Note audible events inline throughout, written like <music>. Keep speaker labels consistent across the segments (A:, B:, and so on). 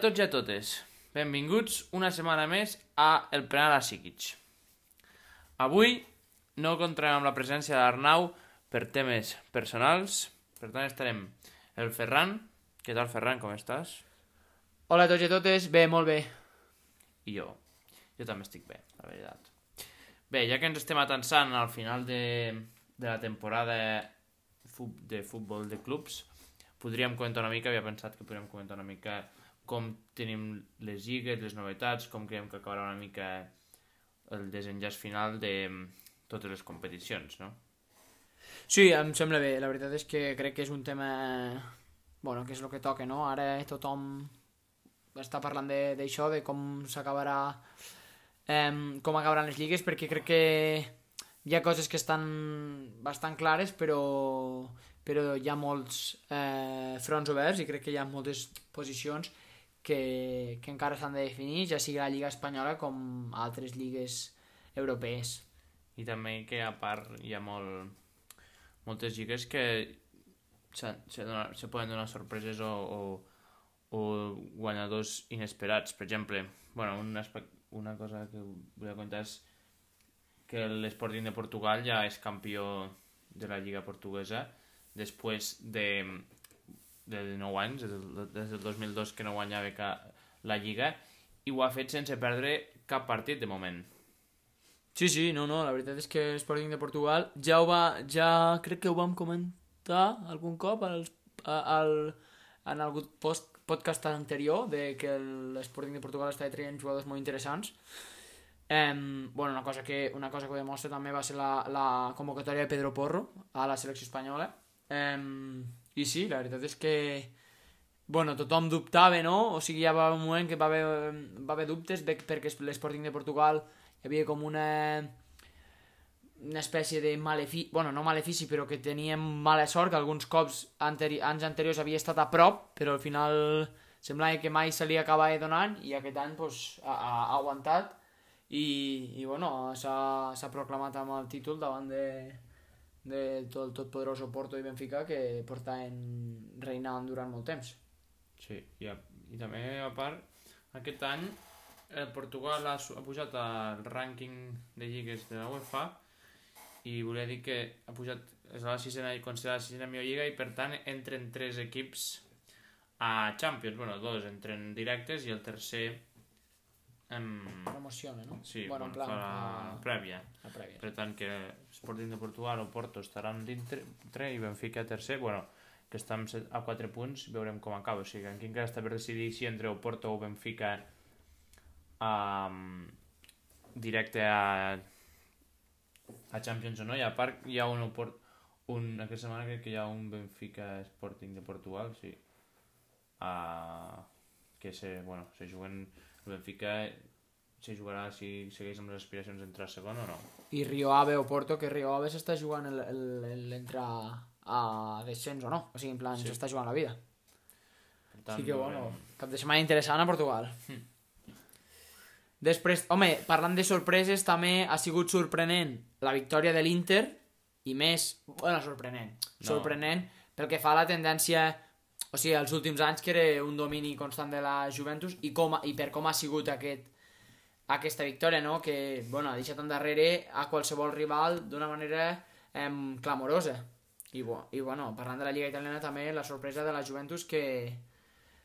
A: tots i a totes. Benvinguts una setmana més a El Penal a Psíquics. Avui no comptarem amb la presència d'Arnau per temes personals. Per tant, estarem el Ferran. Què tal, Ferran? Com estàs?
B: Hola a tots i a totes, bé, molt bé.
A: I jo. Jo també estic bé, la veritat. Bé, ja que ens estem atansant al final de, de la temporada fu- de futbol de clubs, podríem comentar una mica, havia pensat que podríem comentar una mica com tenim les lligues, les novetats, com creiem que acabarà una mica el desenllaç final de mm, totes les competicions, no?
B: Sí, em sembla bé, la veritat és que crec que és un tema... Bueno, que és el que toca, no? Ara eh, tothom està parlant de- d'això, de, com s'acabarà... Eh, com acabaran les lligues, perquè crec que hi ha coses que estan bastant clares, però, però hi ha molts eh, fronts oberts i crec que hi ha moltes posicions que, que encara s'han de definir, ja sigui la Lliga Espanyola com altres lligues europees.
A: I també que a part hi ha molt, moltes lligues que se, se, dona, se poden donar sorpreses o, o, o guanyadors inesperats. Per exemple, bueno, un aspec- una cosa que volia contar és que l'Sporting de Portugal ja és campió de la Lliga Portuguesa després de, de 9 anys, des del, des del 2002 que no guanyava ca- la Lliga, i ho ha fet sense perdre cap partit de moment.
B: Sí, sí, no, no, la veritat és que Sporting de Portugal ja ho va, ja crec que ho vam comentar algun cop als, a, al, en algun post, podcast anterior de que l'Sporting de Portugal està traient jugadors molt interessants. Em, bueno, una cosa, que, una cosa que ho demostra també va ser la, la convocatòria de Pedro Porro a la selecció espanyola. Em, I sí, la veritat és que bueno, tothom dubtava, no? O sigui, ja va haver un moment que va haver, va haver dubtes de, perquè l'Sporting de Portugal hi havia com una una espècie de malefici, bueno, no malefici, però que teníem mala sort, que alguns cops anteri anys anteriors havia estat a prop, però al final semblava que mai se li acabava donant i aquest any pues, ha, ha ha aguantat i, i bueno, s'ha s'ha proclamat amb el títol davant de, de tot el totpoderoso Porto i Benfica que portaven reinant durant molt temps.
A: Sí, i, a, i també, a part, aquest any el Portugal ha, su- ha pujat al rànquing de lligues de la UEFA i volia dir que ha pujat, és la sisena i considerada la sisena millor lliga i per tant entren tres equips a Champions, bueno, dos entren directes i el tercer em,
B: Promociona, no?
A: sí,
B: bueno, en plan, ah.
A: fa
B: a,
A: la prèvia.
B: a prèvia.
A: Per tant, que Sporting de Portugal o Porto estaran dintre tre- i Benfica tercer, bueno, que està amb set- a 4 punts, veurem com acaba. O sigui, aquí encara està per decidir si entre o Porto o Benfica um, directe a, a Champions o no. I a part hi ha un, Opor- un aquesta setmana crec que hi ha un Benfica Sporting de Portugal, sí. Uh, que se, bueno, se juguen el Benfica se jugarà si segueix amb les aspiracions d'entrar segon o no.
B: I Rio Ave o Porto, que Rio Ave s'està jugant el, el, el entrar a descens o no. O sigui, en plan,
A: Sí.
B: s'està jugant la vida.
A: Per tant, Hm.
B: Així que, bueno,
A: veurem.
B: cap de setmana interessant a Portugal. Després, home, parlant de sorpreses, també ha sigut sorprenent la victòria de l'Inter, i més, bueno, sorprenent,
A: No.
B: sorprenent pel que fa a la tendència, o sigui, els últims anys que era un domini constant de la Juventus i, com, i per com ha sigut aquest, aquesta victòria, no? Que, bueno, ha deixat endarrere a qualsevol rival d'una manera em, clamorosa. I, bo, I, bueno, parlant de la Lliga Italiana també, la sorpresa de la Juventus que,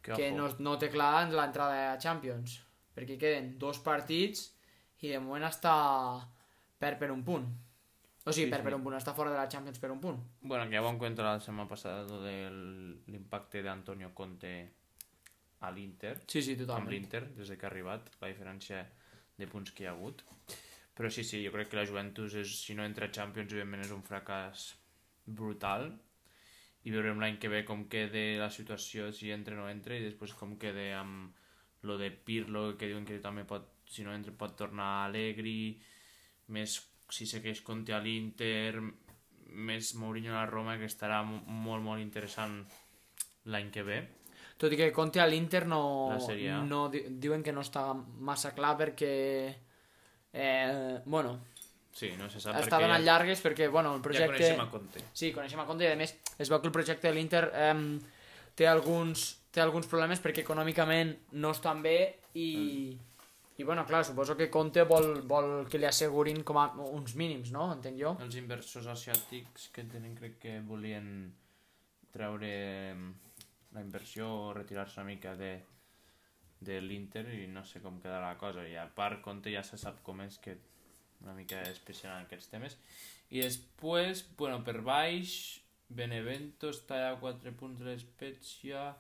B: que,
A: ojo.
B: no, no té clar en l'entrada a Champions, perquè queden dos partits i de moment està perd per un punt. O sigui,
A: Sí,
B: perd
A: sí.
B: per un punt, està fora de la Champions per un punt.
A: Bueno, que ya vam comentar la semana pasada lo del impacte de Antonio Conte al Inter,
B: Sí, sí,
A: amb
B: totalment.
A: l'Inter, des de que ha arribat, la diferència de punts que hi ha hagut. Però sí, sí, jo crec que la Juventus, és, si no entra a Champions, evidentment és un fracàs brutal. I veurem l'any que ve com quede la situació, si entra o no entra, i després com quede amb lo de Pirlo, que diuen que també pot, si no entra pot tornar alegri, més si segueix Conte a l'Inter, més Mourinho a la Roma, que estarà mo- molt, molt interessant l'any que ve.
B: Tot i que Conte a l'Inter no,
A: La Serie A.
B: no... di- Diuen que no està massa clar perquè... Eh, bueno,
A: Sí, no se sap
B: està donant llargues perquè, bueno, el
A: Ja
B: projecte...
A: coneixem a Conte.
B: Sí, coneixem a Conte i a més es veu que el projecte de l'Inter eh, té alguns, té alguns problemes perquè econòmicament no estan bé i... I bueno, clar, suposo que Conte vol, vol que li assegurin com a uns mínims, no? Entenc jo.
A: Els inversors asiàtics que tenen crec que volien treure em, la inversió o retirar-se una mica de, de l'Inter i no sé com quedarà la cosa. I a part, Conte ja se sap com és que una mica especial en aquests temes. I després, bueno, per baix, Benevento està a 4 punts de l'Espezia.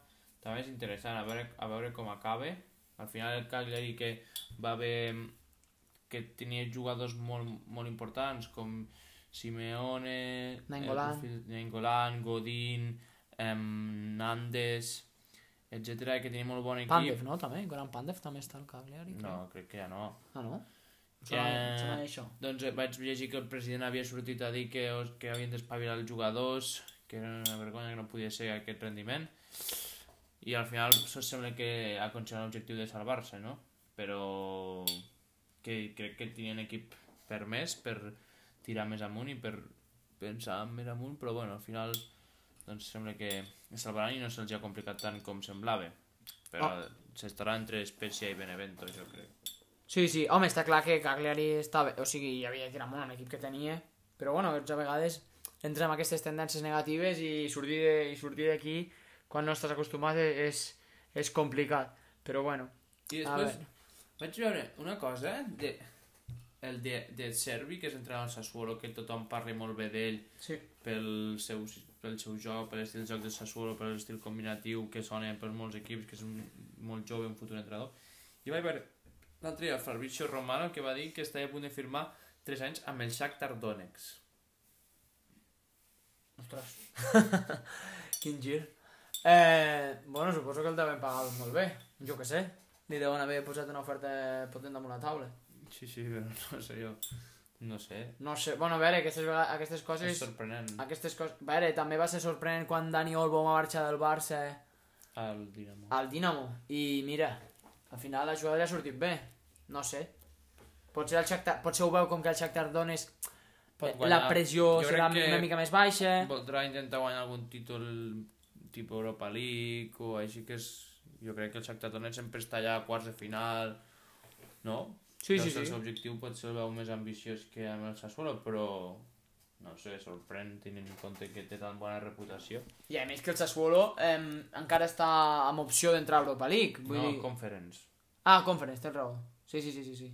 A: També és interessant a veure, a veure com acaba. Al final el Cagliari que va haver mm, que tenia jugadors molt, molt importants com Simeone, eh, el
B: Nainggolan.
A: fill- Nainggolan, Godín, em, Nandes, etc que tenia molt bon equip.
B: Pandev, no? També? Goran Pandev també està al Cagliari. crec.
A: No, Eh, crec que ja no.
B: Ah, no?
A: Ja.
B: Em sona això.
A: Doncs eh, vaig llegir que el president havia sortit a dir que, os- que havien d'espavilar els jugadors, que era una vergonya que no podia ser aquest rendiment. I al final això sembla que ha aconseguit l'objectiu de salvar-se, no? Però que crec que tenien equip per més, per tirar més amunt i per pensar més amunt, però bueno, al final doncs sembla que es salvaran i no se'ls ha complicat tant com semblava. Però s'estarà entre Spezia i Benevento, jo crec.
B: Sí, sí, home, està clar que Cagliari està bé, o sigui, ja havia tirat molt en l'equip que tenia, però bueno, doncs a vegades entres amb aquestes tendències negatives i sortir de- i sortir d'aquí quan no estàs acostumat e- és, és complicat, però bueno.
A: I
B: A
A: després vaig veure una cosa de, el de, de Servi, que és entrenador al Sassuolo, que tothom parla molt bé d'ell
B: Sí.
A: pel seu, pel seu joc, per l'estil de joc de Sassuolo, per l'estil combinatiu que sona per molts equips, que és un, molt jove, un futur entrenador. I vaig veure l'altre dia Fabrizio Romano que va dir que estava a punt de firmar 3 anys amb el Shakhtar Donetsk.
B: Ostres. <laughs> Quin gir. Eh, bueno, suposo que el deuen pagar molt bé, jo que sé. Li deuen haver posat una oferta potent damunt la taula.
A: Sí, sí, però no sé jo. No sé.
B: No sé, bueno, a veure, aquestes, vega- aquestes
A: És
B: coses...
A: sorprenent
B: Aquestes coses... A veure, també va ser sorprenent quan Dani Olmo va marxar del Barça eh?
A: el Dinamo.
B: al Dinamo. I mira, al final la jugada li ha sortit bé. No sé. Potser, el Shakhtar, potser ho veu com que el Shakhtar Donetsk
A: Pot
B: eh,
A: guanyar.
B: la pressió
A: Jo
B: serà
A: crec que-
B: una mica més baixa.
A: Voldrà intentar guanyar algun títol tipus Europa League o així que és... Jo crec que el Shakhtar Donetsk sempre està allà a quarts de final, no?
B: Sí,
A: Deu
B: sí,
A: ser El
B: sí.
A: seu objectiu pot ser el veu més ambiciós que amb el Sassuolo, però no sé, sorprèn tenint en compte que té tan bona reputació.
B: I a més que el Sassuolo eh, encara està amb opció d'entrar a Europa League. Vull
A: no,
B: dir...
A: Conference.
B: Ah, Conference, tens raó. Sí, sí, sí, sí, sí.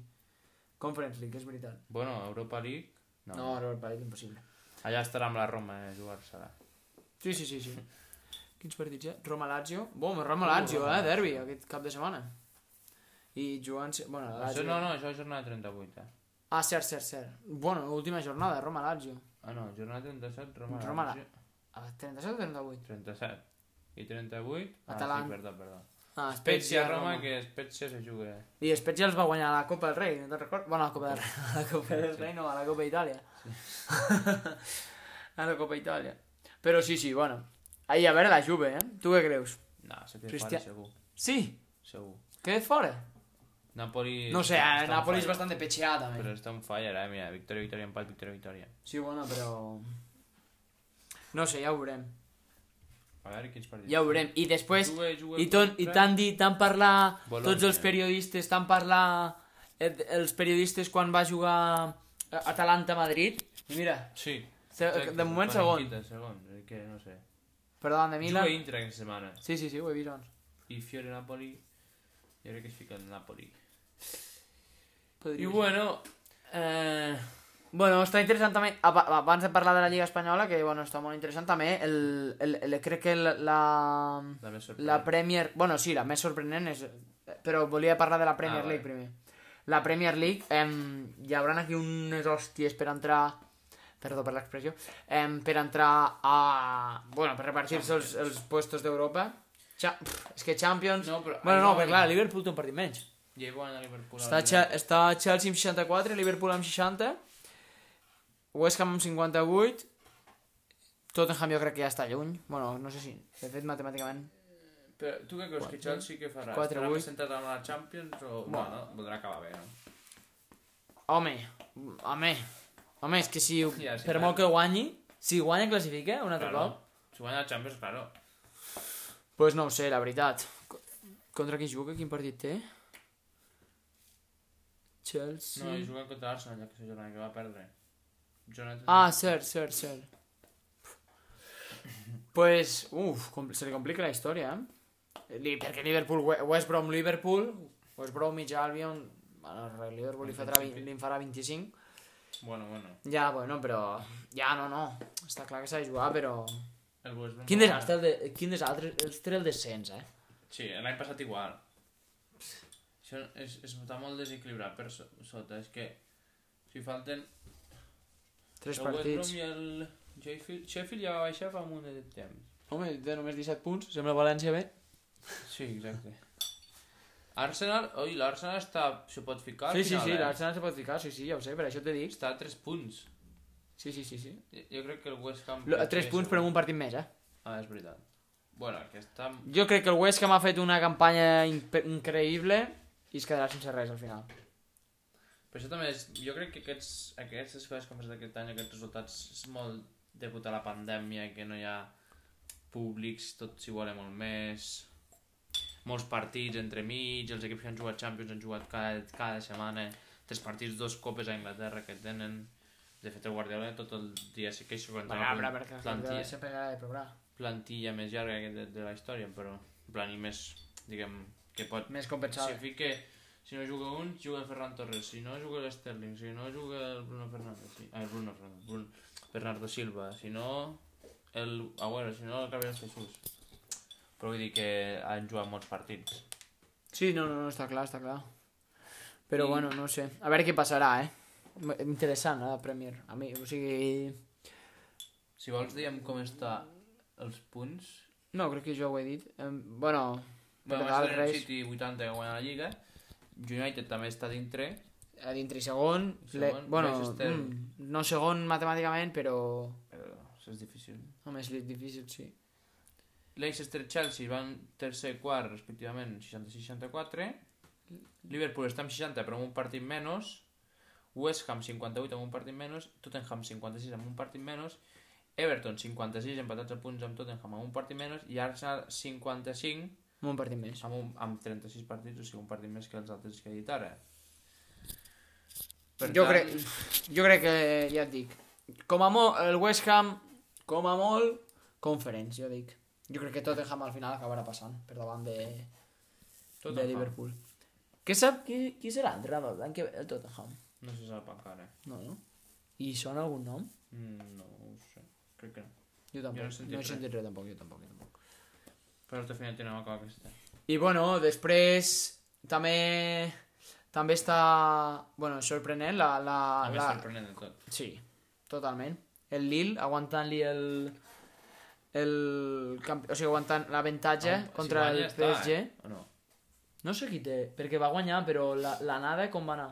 B: Conference League, és veritat.
A: Bueno, Europa League... No.
B: No, no Europa League, impossible.
A: Allà estarà amb la Roma, eh, jugar-se-la.
B: Sí, sí, sí, sí. <laughs> Quins partits hi ha? Roma-Lazio. Bom,
A: Uh,
B: Roma-Lazio, eh? Derbi, aquest cap de setmana. I jugant... Bueno, la
A: Això,
B: Lazio...
A: no, no, això és jornada 38, eh?
B: Ah, cert, cert, cert. Bueno, última jornada, Roma-Lazio.
A: Ah, no, jornada 37, Roma...
B: Roma,
A: Lazio.
B: A 37 o 38?
A: 37. I 38... Ah,
B: Atalant.
A: sí, perdó, perdó.
B: Ah,
A: Spezia Roma, que Spezia se juga.
B: I Spezia els va guanyar la Copa del Rei, no te'n recordes? Bueno, a la Copa del Rei, a <laughs> la Copa del Rei no, a la Copa Itàlia. <laughs> a Ah, la Copa Itàlia. Però sí, sí, bueno. Ahir, a veure, la Juve, eh? Tu què creus?
A: No, se queda
B: Cristià-
A: fora, segur.
B: Sí,
A: Segur.
B: queda't fora.
A: Napoli...
B: No sé, eh,
A: està
B: el
A: on
B: Napoli és
A: fire,
B: bastant de petxeada, també.
A: Però està un fire, eh? Mira, victòria, victòria, empat, victòria, victòria.
B: Sí, bueno, però... No sé, ja ho veurem.
A: A veure quins partits.
B: Ja ho veurem. I després,
A: Juve, Juve
B: i, pues, ton, i
A: contra-
B: tant dit, tant parlar
A: Bologna.
B: tots els periodistes, tant parlar eh, els periodistes quan va jugar eh, Atalanta-Madrid. I mira,
A: Sí.
B: Se- Eh, de moment segon.
A: Quita, segon, és que no sé.
B: per davant de
A: Mila...
B: Milan.
A: Juga Inter aquesta setmana.
B: Sí, sí, sí, ho he vist abans.
A: I Fiore Napoli... Jo crec que es fica el Napoli. I
B: Podria ser.
A: bueno... Eh...
B: Bueno, està interessant també, ab- abans de parlar de la Lliga Espanyola, que bueno, està molt interessant també, el, el, el, crec que la, la,
A: La més sorprenent.
B: La Premier... Bueno, sí, la més sorprenent és... Però volia parlar de la Premier
A: Ah,
B: League
A: vale.
B: primer. La Premier League, em, hi haurà aquí unes hòsties per entrar... Perdó per l'expressió. Em, per entrar a... Bueno, per repartir-se els, els puestos d'Europa. Cha... Pff, És que Champions...
A: No, però-
B: Bueno,
A: no,
B: no, però clar,
A: no.
B: Liverpool té un partit menys.
A: Llevo a Liverpool.
B: Està,
A: al
B: Che- està Chelsea amb 64, Liverpool amb 60, West Ham amb 58, Tottenham jo crec que ja està lluny. Bueno, no sé si... De fet, matemàticament
A: Però tu què creus? Que Chelsea què farà?
B: Quatre,
A: Estarà
B: vuit.
A: més centrat amb la Champions o... No, no, voldrà acabar ¿eh? bé, no?
B: Home, home, home, és que si,
A: Ja, sí,
B: per
A: clar.
B: molt que guanyi, si guanya classifica un altre
A: Claro.
B: cop,
A: Si guanya la Champions, claro.
B: doncs pues no ho sé, la veritat. Co- Contra qui juga? Quin partit té? Chelsea...
A: No, i juguen contra l'Arsenal, ja que és jornada que va perdre. Jonathan...
B: Ah, cert, cert, cert. Pues, uf, com, se li complica la història, eh? Li, perquè Liverpool, We- West Brom, Liverpool, West Brom, mig Albion, bueno, el Liverpool li, farà, vi- li en farà 25.
A: Bueno, bueno.
B: Ja, bueno, però... Ja, no, no. Està clar que s'ha de jugar, però...
A: El West Brom...
B: Quin desastre, el de, quin desastre, els tres el descens, eh?
A: Sí, l'any passat igual. Això és, és està molt desequilibrat per so- sota, és que si falten...
B: Tres
A: el West
B: partits.
A: Brom i el Sheffield, Sheffield ja va baixar fa un munt de temps.
B: Home, té només 17 punts, sembla València bé.
A: Sí, exacte. Arsenal, oi, l'Arsenal està... se pot ficar al
B: Sí, sí,
A: final,
B: sí,
A: eh?
B: l'Arsenal se pot ficar, sí, sí, ja ho sé, per això t'he dit.
A: Està a 3 punts.
B: Sí, sí, sí, sí.
A: Jo jo crec que el West Ham...
B: Lo- Tres punts, però amb un partit més, eh?
A: Ah, és veritat. Bueno, aquesta...
B: Jo crec que el West Ham ha fet una campanya imp- increïble i es quedarà sense res al final.
A: Però això també és... Jo crec que aquests, aquestes coses que han passat aquest any, aquests resultats, és molt degut a la pandèmia, que no hi ha públics, tot s'hi volen molt més... Molts partits entre mig, els equips que han jugat Champions han jugat cada, cada setmana, tres partits, dos copes a Anglaterra que tenen... De fet, el Guardiola tot el dia se queixa quan té una plantilla,
B: sempre agrada de provar.
A: plantilla més llarga que de, de la història, però en plan i més, diguem, que pot
B: Més
A: Si
B: compensada.
A: fique, si no juga un, juga Ferran Torres. Si no, juga l'Sterling. Si no, juga el Bruno Fernández. Si... Ah, el Bruno Fernández. Bruno... Bernardo Silva. Si no, el Agüero. Si no, el Gabriel Jesús. Però vull dir que han jugat molts partits.
B: Sí, no, no, no, està clar, està clar. Però
A: I-
B: bueno, no ho sé. A veure què passarà, eh? M- Interessant, eh, la Premier. A mi, o sigui...
A: Si vols, diem com està els punts.
B: No, crec que jo ho he dit. Em, bueno,
A: Bueno,
B: Real
A: Manchester
B: Reis.
A: City 80 que guanya la Lliga. United també està dintre.
B: a dintre i segon... Le...
A: Segon,
B: Bueno,
A: Leicester.
B: mm, no segon matemàticament, però...
A: Però això és difícil.
B: Home, és difícil, sí.
A: Leicester Chelsea van tercer i quart respectivament 60-64 Liverpool està amb 60 però amb un partit menys West Ham 58 amb un partit menys Tottenham 56 amb un partit menys Everton 56 empatats a punts amb Tottenham amb un partit menys i Arsenal 55
B: Un partit més.
A: amb, un, amb 36 partits o sigui un partit més que els altres que he dit ara per
B: jo,
A: tant,
B: crec, jo crec que, ja et dic, com a molt, el West Ham, com a molt, conference, jo dic. Jo crec que Tottenham al final acabarà passant per davant de, de
A: Tottenham.
B: Liverpool. Què sap? Qui, qui serà entrenador l'any que ve? El Tottenham.
A: no se sap encara
B: No, no? I sona algun nom?
A: Mm, no ho sé crec que no
B: Jo tampoc.
A: no he
B: Jo
A: sentit
B: no he
A: res.
B: sentit res tampoc, jo tampoc, jo tampoc.
A: però al final tenen acabat aquesta
B: I bueno, després també també està, bueno, sorprenent la, la,
A: a més
B: la,
A: sorprenent de tot
B: Sí, totalment. El Lille aguantant-li el... el camp... o sigui, aguantant l'avantatge
A: Ah, si
B: contra
A: guanya,
B: el
A: està,
B: PSG.
A: eh? O no?
B: No sé qui té, perquè va guanyar, però la- l'anada com va anar?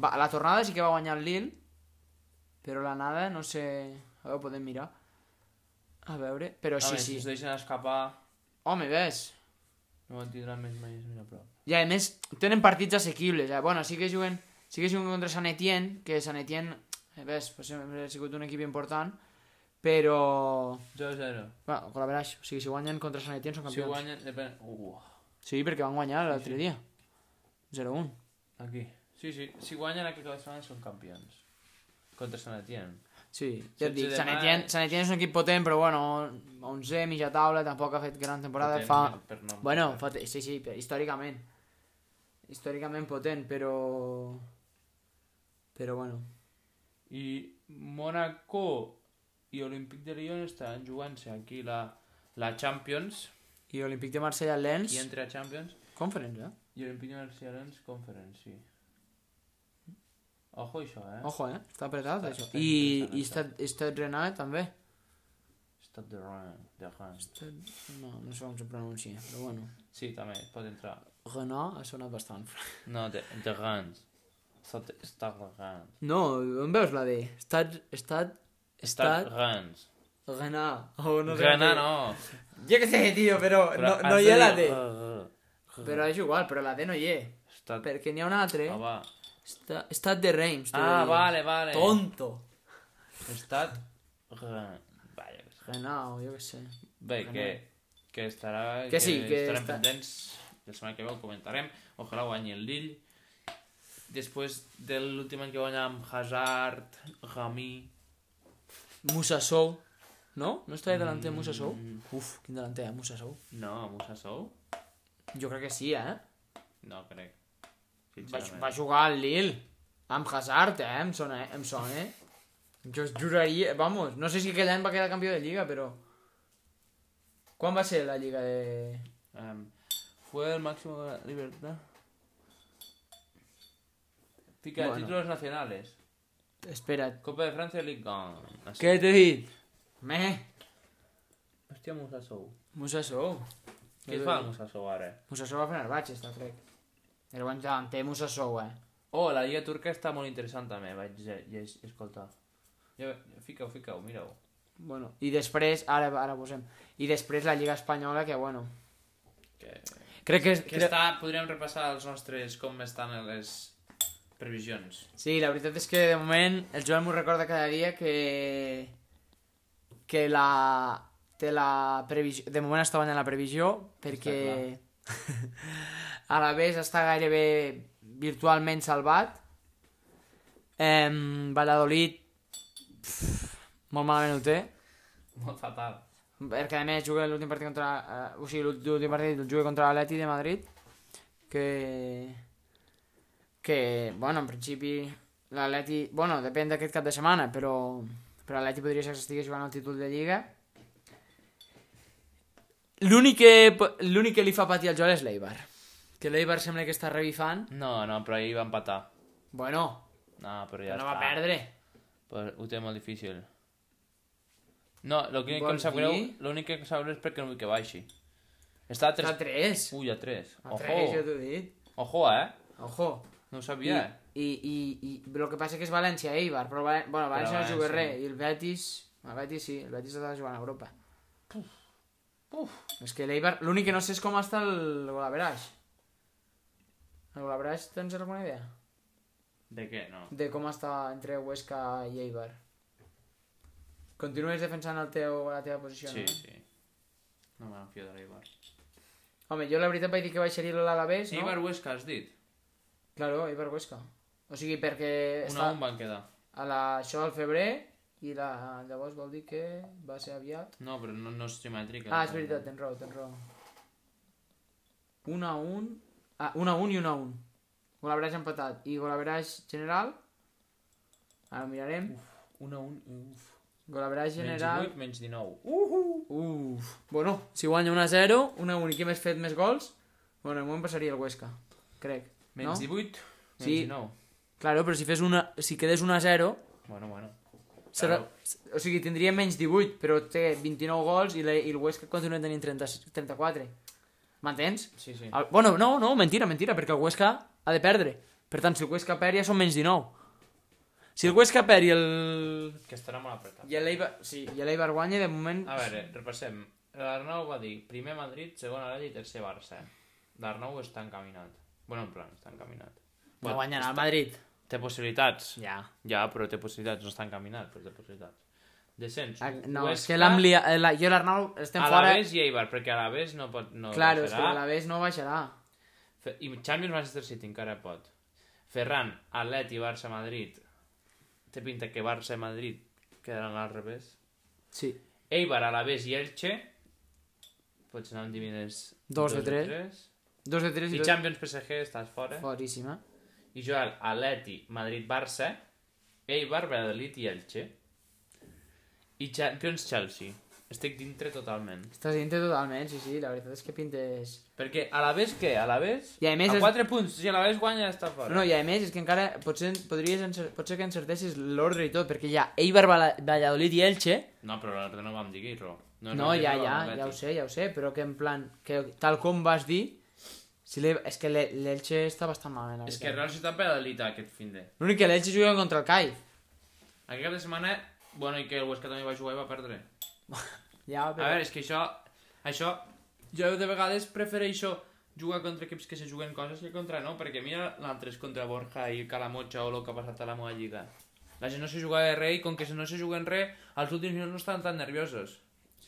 B: Va, la tornada sí que va guanyar el Lille, però l'anada no sé... A veure, ho podem mirar. A veure, però
A: A
B: sí,
A: més,
B: sí.
A: Si es deixen escapar,
B: Home, ves,
A: no en tindran més mai més a prop.
B: I a més, tenen partits assequibles. Eh? Bueno, sí que juguen, sí que juguen contra Sant Etienne, que Sant Etienne, eh, ves, pues, sempre ha sigut un equip important, però...
A: 0-0.
B: Bueno, con la veraix, o sigui, si guanyen contra Sant Etienne són
A: Si
B: campions.
A: guanyen, depèn... Uah,
B: Sí, perquè van guanyar l'altre dia. 0-1.
A: aquí. Sí, sí. Si guanyen aquest cap de setmana són campions. Contra Sant Etienne.
B: Sí, ja
A: Setze
B: et dic,
A: de
B: Sant
A: maig.
B: Etienne, Sant Etienne és un equip potent, però bueno, 11, mitja taula, tampoc ha fet gran temporada,
A: Potent
B: fa...
A: Per nom.
B: Bueno, fa... te- sí, sí, però històricament. Històricament potent, però... Però bueno.
A: I Mónaco i Olímpic de Lyon estan jugant-se aquí la, la Champions.
B: I Olímpic de Marsella Lens,
A: I entre a Champions
B: conference, eh?
A: i Olímpic de Barcelona Conference, sí. Ojo això, eh?
B: Ojo, eh? Està apretat,
A: Està-
B: això.
A: està
B: I,
A: interessant,
B: i està, està Renat, també.
A: Estat de Rennes. De Rennes.
B: Stade- No, no sé com se pronuncia, però bueno.
A: Sí, també, pot entrar.
B: Renat ha sonat bastant.
A: No, de, de Rennes. Estat, estat de Rennes.
B: No, on veus la D? Estat, estat,
A: Estat
B: estat,
A: Rennes.
B: Granà. Oh, no sé
A: Granà
B: com dir.
A: no.
B: Jo què sé, tio, però,
A: Però
B: no, no
A: has
B: hi ha
A: de
B: la D.
A: dir, "Ah, ah,
B: Però és igual, però la D no hi és.
A: ah". Estat...
B: Perquè n'hi ha una altra.
A: Ah, va.
B: Estat, estat de Reims. t'ho
A: Ah,
B: dic.
A: vale, vale.
B: Tonto.
A: Estat Rennes. Vaja.
B: Granà, o jo què sé.
A: Bé,
B: Rennes.
A: que que estarà...
B: Que sí, que
A: estarem
B: està-
A: pendents. La setmana que ve ho comentarem. Ojalà guanyi el Lille. Després de l'últim any que guanyà amb Hazard, Rami...
B: Musa Sou. No? No està delante de Musa Sou?
A: Mm.
B: Uf, quin delanter, eh? Musa Sou.
A: No, Musa Sou?
B: Jo crec que sí, eh?
A: No crec.
B: Va,
A: Sincerament.
B: va jugar al Lille. Amb Hazard, eh? Em sona, eh? Em sona, eh? Jo es juraria... eh, Vamos, no sé si aquell any va quedar campió de Lliga, però... Quan va ser la Lliga de...
A: Em, fue el máximo de la libertad. Pica
B: Bueno.
A: títulos nacionales.
B: Espera't.
A: Copa de Francia, Ligue 1.
B: Què t'he dit? Meh.
A: Hòstia, Musasou.
B: Musa Sou.
A: Què
B: Què
A: fa
B: dius?
A: Musasou ara?
B: Musa Sou va fer el Batx, està, crec. Era quan delanter Musa Sou, eh?
A: Oh, la Lliga Turca està molt interessant també, vaig lle- llegir- escoltar. Ja, fica-ho, fica-ho, mira-ho.
B: Bueno, i després, ara, ara posem, i després la Lliga Espanyola, que bueno,
A: Que,
B: crec que...
A: que
B: crec-
A: està, podríem repassar els nostres, com estan les previsions.
B: Sí, la veritat és que de moment el Joan m'ho recorda cada dia que... que la... té la previsió... De moment està guanyant la previsió perquè... <laughs> a la vez està gairebé virtualment salvat. Em, Valladolid... pff, molt malament ho té.
A: Molt fatal.
B: Perquè a més juga l'últim partit contra... Eh, o sigui, l'últim- l'últim partit el juga contra l'Atleti de Madrid, que... que, bueno, en principi l'Atleti... Bueno, depèn d'aquest cap de setmana, però, però l'Atleti podria ser que s'estigui jugant el títol de Lliga. L'únic que, po- l'únic que li fa patir al Joel és l'Eibar. Que l'Eibar sembla que està revifant.
A: No, no, però ahir va empatar.
B: Bueno,
A: No, però ja
B: ja no
A: està.
B: va perdre.
A: Pues ho té molt difícil. No, l'únic que
B: Vols
A: em sap greu,
B: dir?
A: l'únic que em sap greu és perquè no vull que baixi. Està a 3...
B: A 3.
A: Ui, a 3.
B: A 3, jo
A: Ojo,
B: t'ho he dit.
A: ojo, eh?
B: Ojo.
A: No ho sabia. eh?
B: I, i, i, i el que passa que és València i Eibar, però Valen... bueno, València no juga
A: València.
B: res, i el Betis, el Betis sí, el Betis està jugant a Europa.
A: Uf.
B: És que l'Eibar, l'únic que no sé és com està el Golaverage. El Golaverage, tens alguna idea?
A: De què? No.
B: De com està entre Huesca i Eibar. Continues defensant el teu, la teva posició,
A: Sí,
B: no?
A: sí. No me'n fio de l'Eibar.
B: Home, jo la veritat vaig dir que baixaria l'Alavés, no?
A: Eibar Huesca, has dit?
B: Claro, Eibar Huesca. O sigui, perquè
A: Una on van quedar.
B: a la, això al febrer i la, llavors vol dir que va ser aviat.
A: No, però no, no és simètrica.
B: Ah, és veritat, tens raó, tens raó. Un a un... Ah, un a un i un a un. Golaverage empatat. I golaverage general... Ara ho mirarem.
A: Una un... Uf.
B: Golaverage general...
A: Menys 8, menys 19.
B: Uhu. Uf. Bueno, si guanya 1 a 0, 1 a 1 i qui més fet més gols, bueno, de moment passaria el Huesca, crec. No?
A: Menys 18, menys
B: Sí.
A: 19.
B: Claro, però si fes una... Si quedés 1 a 0,
A: Bueno, bueno.
B: Serà...
A: Claro.
B: O sigui, tindria menys 18, però té 29 gols i, la, i el Huesca continua tenint 30, 34. M'entens?
A: Sí, sí.
B: El... Bueno, no, no, mentira, mentira, perquè el Huesca ha de perdre. Per tant, si el Huesca perd ja són menys 19. Si el Huesca perd i el...
A: Que estarà molt apretat.
B: I l'Eibar... Sí, i l'Eibar guanya, de moment...
A: A veure, repassem. L'Arnau va dir primer Madrid, segon Atleti i tercer Barça. L'Arnau està encaminat. Bueno, en plan, està encaminat.
B: Va guanyar el Madrid.
A: Té possibilitats. Ja.
B: Ja.
A: però té possibilitats. No està encaminat, però té possibilitats. Descens.
B: Ah, No, és
A: Huesca,
B: que l'hem liat... eh, La... Jo i l'Arnau estem
A: A la
B: fora...
A: vez i Eibar, perquè a la vez no pot... No
B: Claro, és que
A: baixarà.
B: a la vez no baixarà.
A: Fe- I Champions Manchester City encara pot. Ferran, Atleti, Barça, Madrid. Té pinta que Barça i Madrid quedaran al revés.
B: Sí.
A: Eibar, Alavés i Elche. Pots anar amb dividends
B: Dos de
A: o
B: tres. Dos de tres
A: I
B: i dos...
A: Champions PSG, estàs fora.
B: Foríssima.
A: I Joel, Atleti, Madrid, Barça. Eibar, Valladolid i Elche. I Champions Chelsea. Estic dintre totalment.
B: Estàs dintre totalment, sí, sí, la veritat és que pintes...
A: Perquè a la vez què? A la vez?
B: I a més
A: a
B: és-
A: 4 punts. Si a la vez guanya està fora.
B: No, i a més, és que encara potser, podries encer... potser que encertessis l'ordre i tot, perquè hi ha Eibar, Vala- Valladolid i Elche.
A: No, però l'altre no vam dir-ho.
B: No, ja, ja, ja ho sé, ja ho sé, però que en plan, que tal com vas dir, si l'Ei- és que l'E- l'Elche està bastant malament, la
A: És
B: veritat.
A: que Real Ciutat Valladolid aquest fin de...
B: L'únic que l'Elche juga contra el CAI.
A: Aquest cap de setmana, bueno, i que el Huesca també va jugar i va perdre.
B: Ja,
A: A
B: però...
A: veure, és que això... Això... Jo de vegades prefereixo jugar contra equips que se juguen coses que contra no, perquè mira l'altre és contra Borja i Calamotxa o el que ha passat a la meva lliga. La gent no se jugava res i com que no se juguen res, els últims minuts no estan tan nerviosos.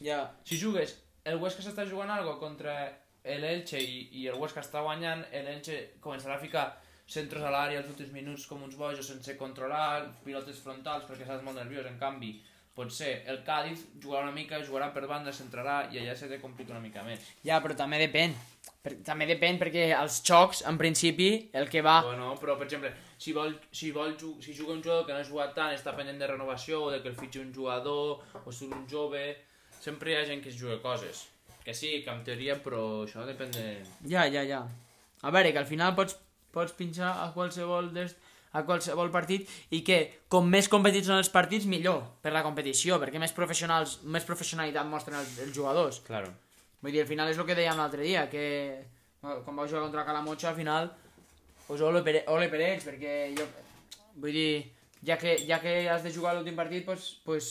B: Ja,
A: Si jugues el Huesca s'està jugant algo contra l'Elche i, i el Huesca està guanyant, l'Elche començarà a ficar centres a l'àrea els últims minuts com uns bojos sense controlar, pilotes frontals perquè estàs molt nerviós, en canvi potser el Cádiz jugarà una mica, jugarà per banda, centrarà i allà se te complica una mica més.
B: Ja, però també depèn. Per, també depèn perquè els xocs, en principi, el que va...
A: Bueno, però per exemple, si vol, si vol ju- si juga un jugador que no ha jugat tant, està pendent de renovació o de que el fitxi un jugador o surt un jove, sempre hi ha gent que es juga coses. Que sí, que en teoria, però això depèn de...
B: Ja, ja, ja. A veure, que al final pots, pots pinxar a qualsevol d'est a qualsevol partit i que com més competits són els partits millor per la competició, perquè més professionals més professionalitat mostren els, els jugadors
A: Claro.
B: vull dir, al final és el que dèiem l'altre dia que bueno, quan vau jugar contra Calamotxa al final, pues ole per, ole per ells perquè jo, vull dir ja que, ja que has de jugar l'últim partit pues, pues,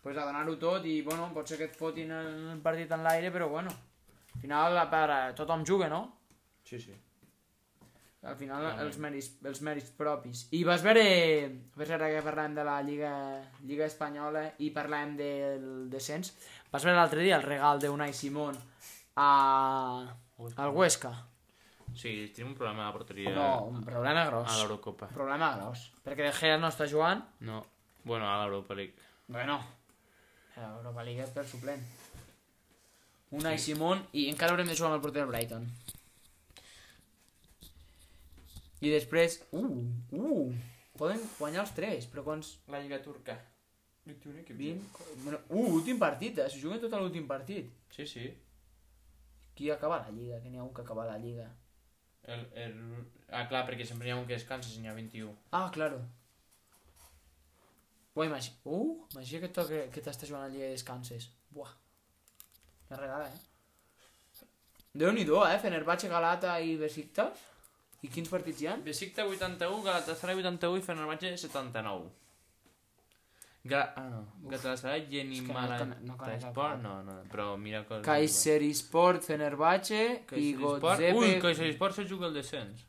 B: pues a donar-ho tot i bueno, pot ser que et fotin el partit en l'aire però bueno, al final a part, tothom juga, no?
A: Sí, sí.
B: Al final, els mèrits, els mèrits propis. I vas veure... Vas veure que parlàvem de la Lliga, Lliga Espanyola i parlàvem del descens. Vas veure l'altre dia el regal d'Unai Simón a... al Huesca.
A: Sí, tenim un problema a la porteria
B: No, un problema
A: a
B: gros.
A: l'Eurocopa.
B: Problema gros. Perquè De Gea no està jugant.
A: No, bueno, a l'Europa League.
B: Bueno. L'Europa Eh, League és per suplent. Unai Simón i encara haurem de jugar amb el porter del Brighton. I després... Uh, uh, poden guanyar els tres, però quants...
A: La Lliga Turca. 21 equips.
B: 20... Bueno, uh, últim partit, eh? Si juguen tot a l'últim partit.
A: Sí, sí.
B: Qui acaba la Lliga? Que n'hi ha un que acaba la Lliga.
A: El, el... Ah, clar, perquè sempre hi ha un que descansa si n'hi ha 21.
B: Ah, claro. Ui, imagina... Uh, imagina que, toque, que t'estàs jugant a la Lliga i descanses. Buah. La regala, eh? Déu-n'hi-do, eh? Fenerbahce, Galata i Besiktas. I quins partits hi ha?
A: Besikta 81, Galatasaray 81 i Fenerbahçe 79. Gra... Ah, no. Galatasaray, Geni
B: és que no
A: Mala...
B: cone- no conec el
A: Sport,
B: cap.
A: no, no, però mira que...
B: Kayserisport, Fenerbahce i
A: Sport.
B: Godzepe...
A: Ui, Kaiser Sport se juga el descens.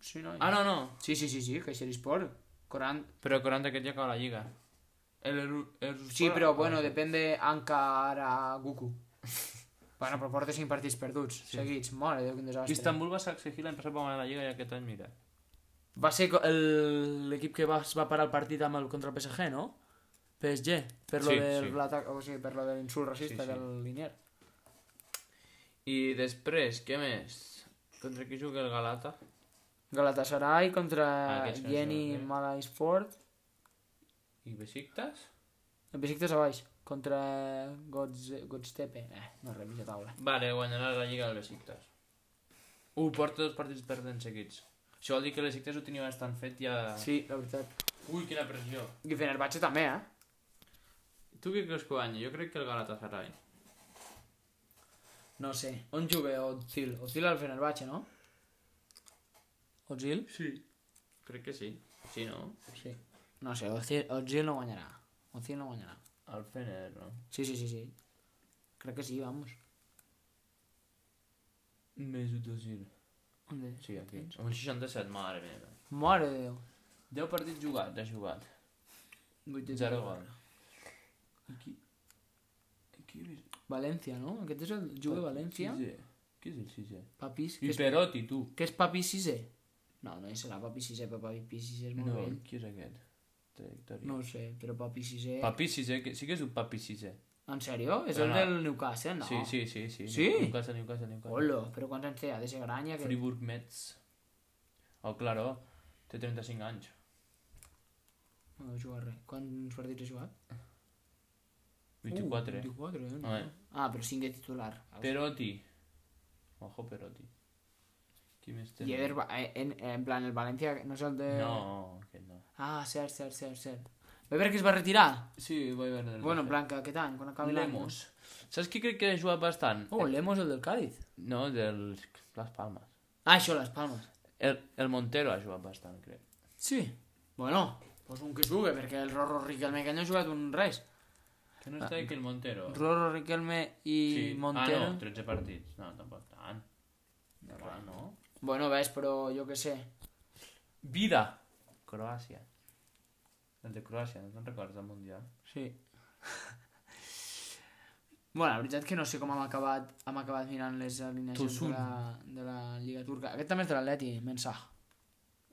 B: Sí, no,
A: Ah, no, no.
B: Sí, sí, sí, sí, Kayserisport. 40...
A: Però 40 aquest ja acaba la lliga. El, el, el
B: Sí, però, bueno, depèn encara Goku. <laughs> bueno, però porta 5 partits perduts, seguits. Mare de Déu, quin desastre.
A: Istanbul va ser exigir l'any passat per guanyar la lliga i aquest any, mira.
B: Va ser co- el- l'equip que va, es va parar el partit amb el contra el PSG, no? PSG, per lo
A: Sí,
B: del
A: sí.
B: l'atac, o sigui, per lo de l'insult racista
A: Sí, sí.
B: del Linier.
A: I després, què més? Contra qui juga el Galata?
B: Galatasaray
A: Ah,
B: contra
A: aquests que no
B: Jenny
A: saben, eh?
B: Malasport.
A: I Besiktas?
B: El Besiktas a baix, contra Godz- Godstepe. Eh, no revisa taula.
A: Vale, guanyarà la Lliga del Besiktas. Uh, porta dos partits perdent seguits. Això vol dir que el Besiktas ho tenia bastant fet ja...
B: Sí, la veritat.
A: Ui, quina pressió.
B: I Fenerbahce també, eh?
A: Tu què creus que guanya? Jo crec que el Galatasaray.
B: No sé. On juga Ozil? Ozil al Fenerbahce, no? Ozil?
A: Sí. Crec que sí. Sí, no?
B: Sí. No sé, Ozil, Ozil no guanyarà. Ozil no guanyarà.
A: El Fener, no?
B: Sí, sí, sí, sí. Crec que sí, vamos.
A: Mesut Özil.
B: ¿Dónde?
A: Sí, aquí. Un 67, mare meva.
B: Mare de Déu.
A: 10 partits jugats, ha jugat. 0
B: 0
A: gol. Aquí... Aquí he vist...
B: València, no? Aquest és el jugador de València.
A: Sisè. Què és el sisè?
B: Papis, que
A: I
B: és,
A: Perotti, tu.
B: que és Papi Sisè. No, no hi serà Papi Sisè, però Papi Sisè és molt
A: No,
B: vell.
A: qui és aquest? Trajectòria.
B: No ho sé, però Papi Sisè...
A: Papi sisè, que- sí que és un papi sisè.
B: En sèrio? És el
A: No, no.
B: del Newcastle, no?
A: Sí, sí, sí, sí.
B: Sí?
A: Newcastle, Newcastle, Newcastle.
B: Olo, però quants anys té? Ha de ser gran ja que...
A: Friburg Mets. Oh, claro, té 35 anys.
B: No deu jugar res. Quants partits ha jugat?
A: 24.
B: Uh, 24, Uh, eh? No.
A: Ah, eh.
B: Ah, però 5 de titular.
A: Perotti. Ojo, Perotti. este? Qui més té?
B: I Eder, eh, en, en plan, el València no és el de...
A: No, aquest no.
B: Ah, cert, cert, cert, cert. Weber que es va retirar?
A: Sí, voy a ver.
B: Bueno, en plan, que aquest any, quan acabi l'any. no?
A: Lemos. Saps qui crec que ha jugat bastant?
B: Oh, Lemos el del Cádiz.
A: No, del Las Palmas.
B: Ah, això, les palmes.
A: El, el Montero ha jugat bastant, crec.
B: Sí. Bueno, doncs un que juga, perquè el Rorro Riquelme que no ha jugat un res.
A: Que no està aquí el Montero.
B: Rorro Riquelme i Montero.
A: Ah, no, 13 partits. No, tampoc tant. No, clar, no.
B: Bueno, ves, però jo que sé.
A: Vida. Croàcia. El de Croàcia, no te'n recordes del Mundial?
B: Sí. <laughs> Bueno, la veritat que no sé com hem acabat, hem acabat mirant les alineacions de
A: Tosun.
B: la, de la Lliga Turca. Aquest també és de l'Atleti, Mensah.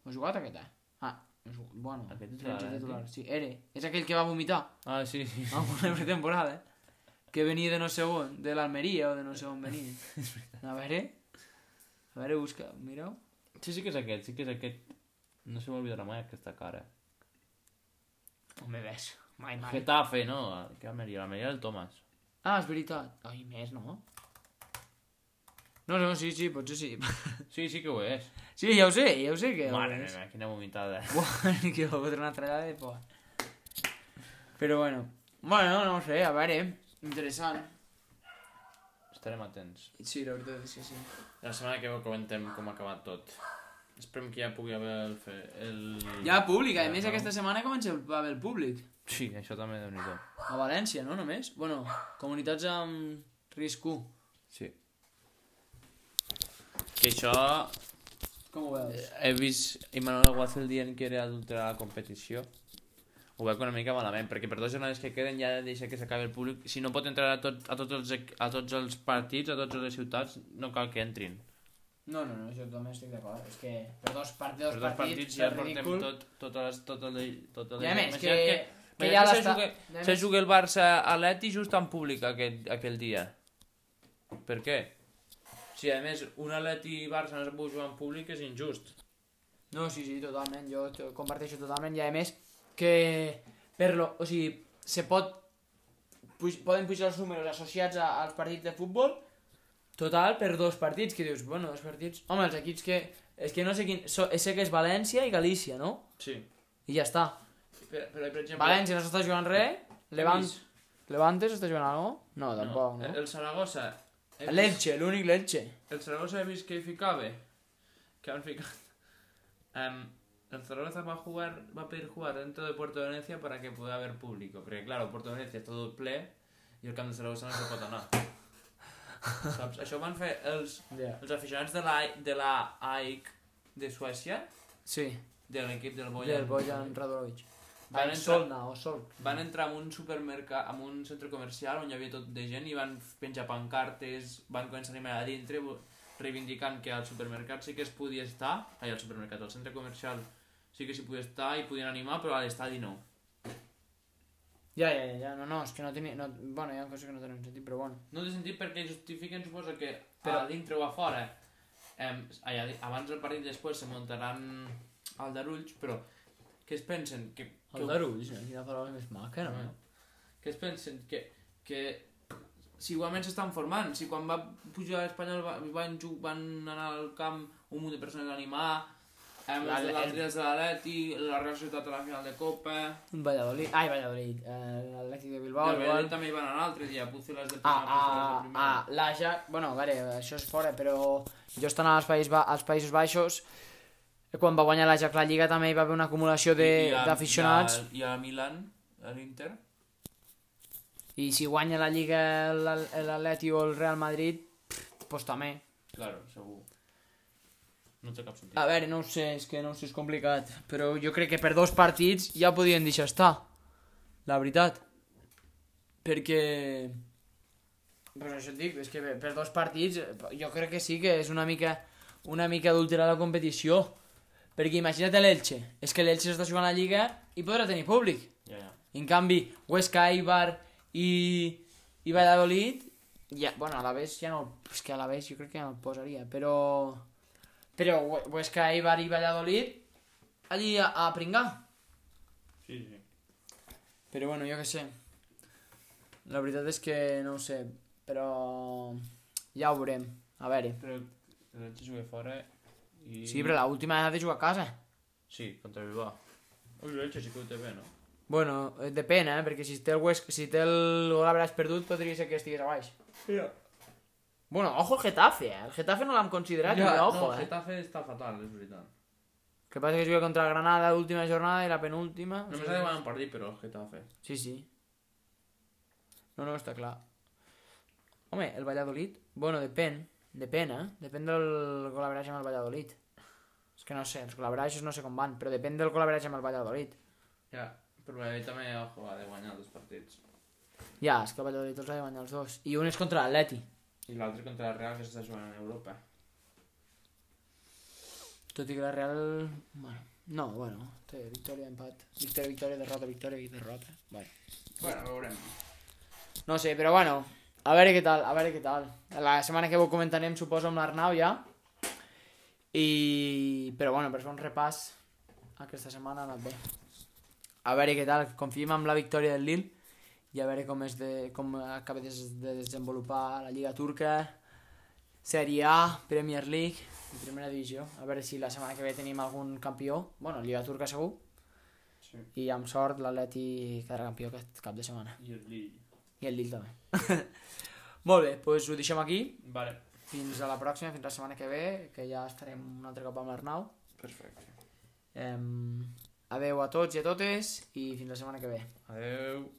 B: Ho ha jugat aquest, eh? Ah, no he jugat. bueno,
A: Aquest és de
B: tretze
A: l'Atleti?
B: titular. Sí, Ere, és aquell que va vomitar
A: Ah, sí, sí.
B: a una pretemporada, eh? Que venia de no sé on, de l'Almeria o de no sé on <laughs> venia. A veure, a veure, busca, mireu.
A: Sí, sí que és aquest, sí que és aquest. No se m'olvidarà mai aquesta cara.
B: On me ves? Mai, mai.
A: Getafe, no? Que Almeria, l'Almeria del Tomàs.
B: Ah, és veritat. Ai, més, no? No, no, sí, sí, potser sí. <laughs>
A: Sí, sí que ho és.
B: Sí, ja ho sé, ja ho sé que ho
A: Mare
B: és.
A: meva, quina vomitada.
B: Buah, <laughs> que va fotre una trallada de por. Però bueno. Bueno, no ho sé, a veure. Interessant.
A: Estarem atents.
B: Sí, la veritat és que sí.
A: La setmana que ve comentem com ha acabat tot. Esperem que ja pugui haver el... Fe... el...
B: Ja públic, a
A: Ja,
B: més
A: no?
B: aquesta setmana comença a haver el públic.
A: Sí, això també déu nhi
B: A València, no només? Bueno, comunitats amb risc 1.
A: Sí. Que això...
B: Com ho veus?
A: He vist Imanol Aguazel dient que era adulterar la competició. Ho veig una mica malament, perquè per dues jornades que queden ja deixa que s'acabi el públic. Si no pot entrar a, tot, a, tots els, equ- a tots els partits, a totes les ciutats, no cal que entrin.
B: No, no, no, jo també estic d'acord. És que per dos, part, dos,
A: Per dos partits ja portem
B: ridícul.
A: tot, tota totes les, tot el, tot el...
B: I a més, que,
A: Imagina't
B: que, ja
A: imagina't
B: l'està...
A: se
B: i a
A: Se
B: més-
A: juga el Barça a l'Eti just en públic aquell, aquell dia. Per què? Si a més un Atleti i Barça no es pot jugar en públic és injust.
B: No, sí, sí, totalment, jo t- comparteixo totalment i a més que per lo, o sigui, se pot puj, poden pujar els números associats a, als partits de futbol total per dos partits, que dius, bueno, dos partits. Home, els equips que és que no sé quin, so, sé que és València i Galícia, no?
A: Sí.
B: I ja està.
A: Però, però per exemple...
B: València no s'està jugant res, Levant,
A: vist-
B: Levante s'està jugant alguna cosa? No,
A: no, Eh,
B: tampoc, no.
A: El Saragossa... he vist-
B: L'Elche, l'únic l'Elche.
A: El Saragossa he vist que hi ficava. Que han ficat... <laughs> Em, el Zaragoza va, a jugar, va a pedir jugar dentro de Puerto Venecia para que pueda haber público. Porque claro, Puerto Venecia está todo ple i el camp de Zaragoza no se pot anar. Saps? Això ho van fer els
B: Yeah.
A: Els aficionats de la, de la AIC de Suècia,
B: Sí,
A: de l'equip del Bojan,
B: del Bojan Radulovic.
A: Van
B: Van
A: entrar-
B: Solna o Sol.
A: van entrar en un supermercat, en un centre comercial on hi havia tot de gent i van penjar pancartes, van començar a animar a dintre vo- reivindicant que al supermercat sí que es podia estar, ai, al supermercat, al centre comercial sí que s'hi podia estar i podien animar, però a l'estadi no.
B: Ja, ja, ja, ja, no, no, és que no tenia... No, bueno, hi ha coses que no tenen sentit, però bueno.
A: No té sentit perquè justifiquen, suposo que
B: Però-
A: a dintre o a fora, em, allà, di- abans del partit després se muntaran aldarulls, però què es pensen? Que, que
B: El d'Arulls, eh? quina paraula més maca, no?
A: Mm. que es pensen que, que si igualment s'estan formant, si quan va pujar a Espanyol va- van, ju- van anar al camp un munt de persones a animar, amb els de
B: L'Atleti.
A: l'altre de l'Atleti, la Real Societat a la final de Copa,
B: Valladolid, ai, Ah, Valladolid, eh, l'Atlètic de
A: oh,
B: Bilbao,
A: el Valladolid
B: igual...
A: també hi van anar l'altre dia, Pucelas de
B: Ah,
A: primera, Pucelas de
B: ah,
A: primera.
B: ah, l'Ajax... Bueno, a veure, això és fora, però jo estant als, País ba als Països Baixos, eh, quan va guanyar l'Ajax la Lliga també hi va haver una acumulació
A: I- i
B: de-
A: a-
B: d'aficionats i,
A: I, a- I a Milan, a l'Inter.
B: i, si guanya la Lliga l'Al- l'Atleti o el Real Madrid, doncs pues, també.
A: Claro, segur. No té cap sentit.
B: A veure, no ho sé, és que no ho sé, és complicat. Però jo crec que per dos partits ja podien deixar estar. La veritat. Perquè... Però això et dic, és que per- per dos partits eh, jo crec que sí que és una mica una mica adulterar la competició. Perquè imagina't l'Elche. És que l'Elche està jugant a la Lliga i podrà tenir públic.
A: Ja, ja.
B: En canvi, Huesca, Ibar i, i Valladolid, ja, bueno, a la vez ja no, és que a la vez jo crec que ja no el posaria, però... Però Hue- Huesca, Ibar i Valladolid, allí a, a pringar.
A: Sí, sí.
B: Però bueno, jo què sé. La veritat és que no ho sé, però ja ho veurem. A veure.
A: Però l'Elche juga fora i...
B: Sí, però l'última ha de jugar a casa.
A: Sí, contra el Bilbao. Ui, l'Elche sí que ho té bé, no?
B: Bueno, eh, depèn, eh? Perquè si té el, Huesca, si té el gol hauràs perdut, podria ser que estigués a baix.
A: Ja.
B: Bueno, ojo el Getafe, eh? El Getafe no l'hem considerat, ja, però ojo,
A: no,
B: eh?
A: Getafe està fatal, és veritat.
B: Que passa que juga contra el Granada l'última jornada i la penúltima.
A: Només ha de guanyar un partit, però el Getafe.
B: Sí, sí. No, no, està clar. Home, el Valladolid... Bueno, depèn. Depèn, eh? Depèn del col·laboratge amb el Valladolid. És que no sé, els col·laboratges no sé com van, però depèn del col·laboratge amb el Valladolid.
A: Ja, però bé, també ojo, ha de guanyar dos partits.
B: Ja, és que Valladolid els ha de guanyar els dos. I un és contra l'Atleti.
A: I l'altre contra la Real que s'està jugant a Europa.
B: Tot i que la Real... Bueno, no, bueno, este, té victòria, empat. Victòria, victòria, derrota, victòria i derrota. Bueno.
A: Bueno, veurem.
B: No sé, però bueno, a veure què tal, a veure què tal. La setmana que ho comentarem, suposo, amb l'Arnau ja. I... Però bueno, per fer un repàs, aquesta setmana ha anat bé. A veure què tal, confiem en la victòria del Lille i a veure com, és de, com acaba de, de desenvolupar la Lliga Turca, Sèrie A, Premier League i Primera Divisió. A veure si la setmana que ve tenim algun campió. Bueno, Lliga Turca segur.
A: Sí.
B: I amb sort l'Atleti quedarà campió aquest cap de setmana.
A: I el Lille.
B: I el Lille també. <laughs> Molt bé, doncs ho deixem aquí.
A: Vale.
B: Fins a la pròxima, fins la setmana que ve, que ja estarem un altre cop amb l'Arnau.
A: Perfecte.
B: Eh, adeu a tots i a totes i fins la setmana que ve.
A: Adeu.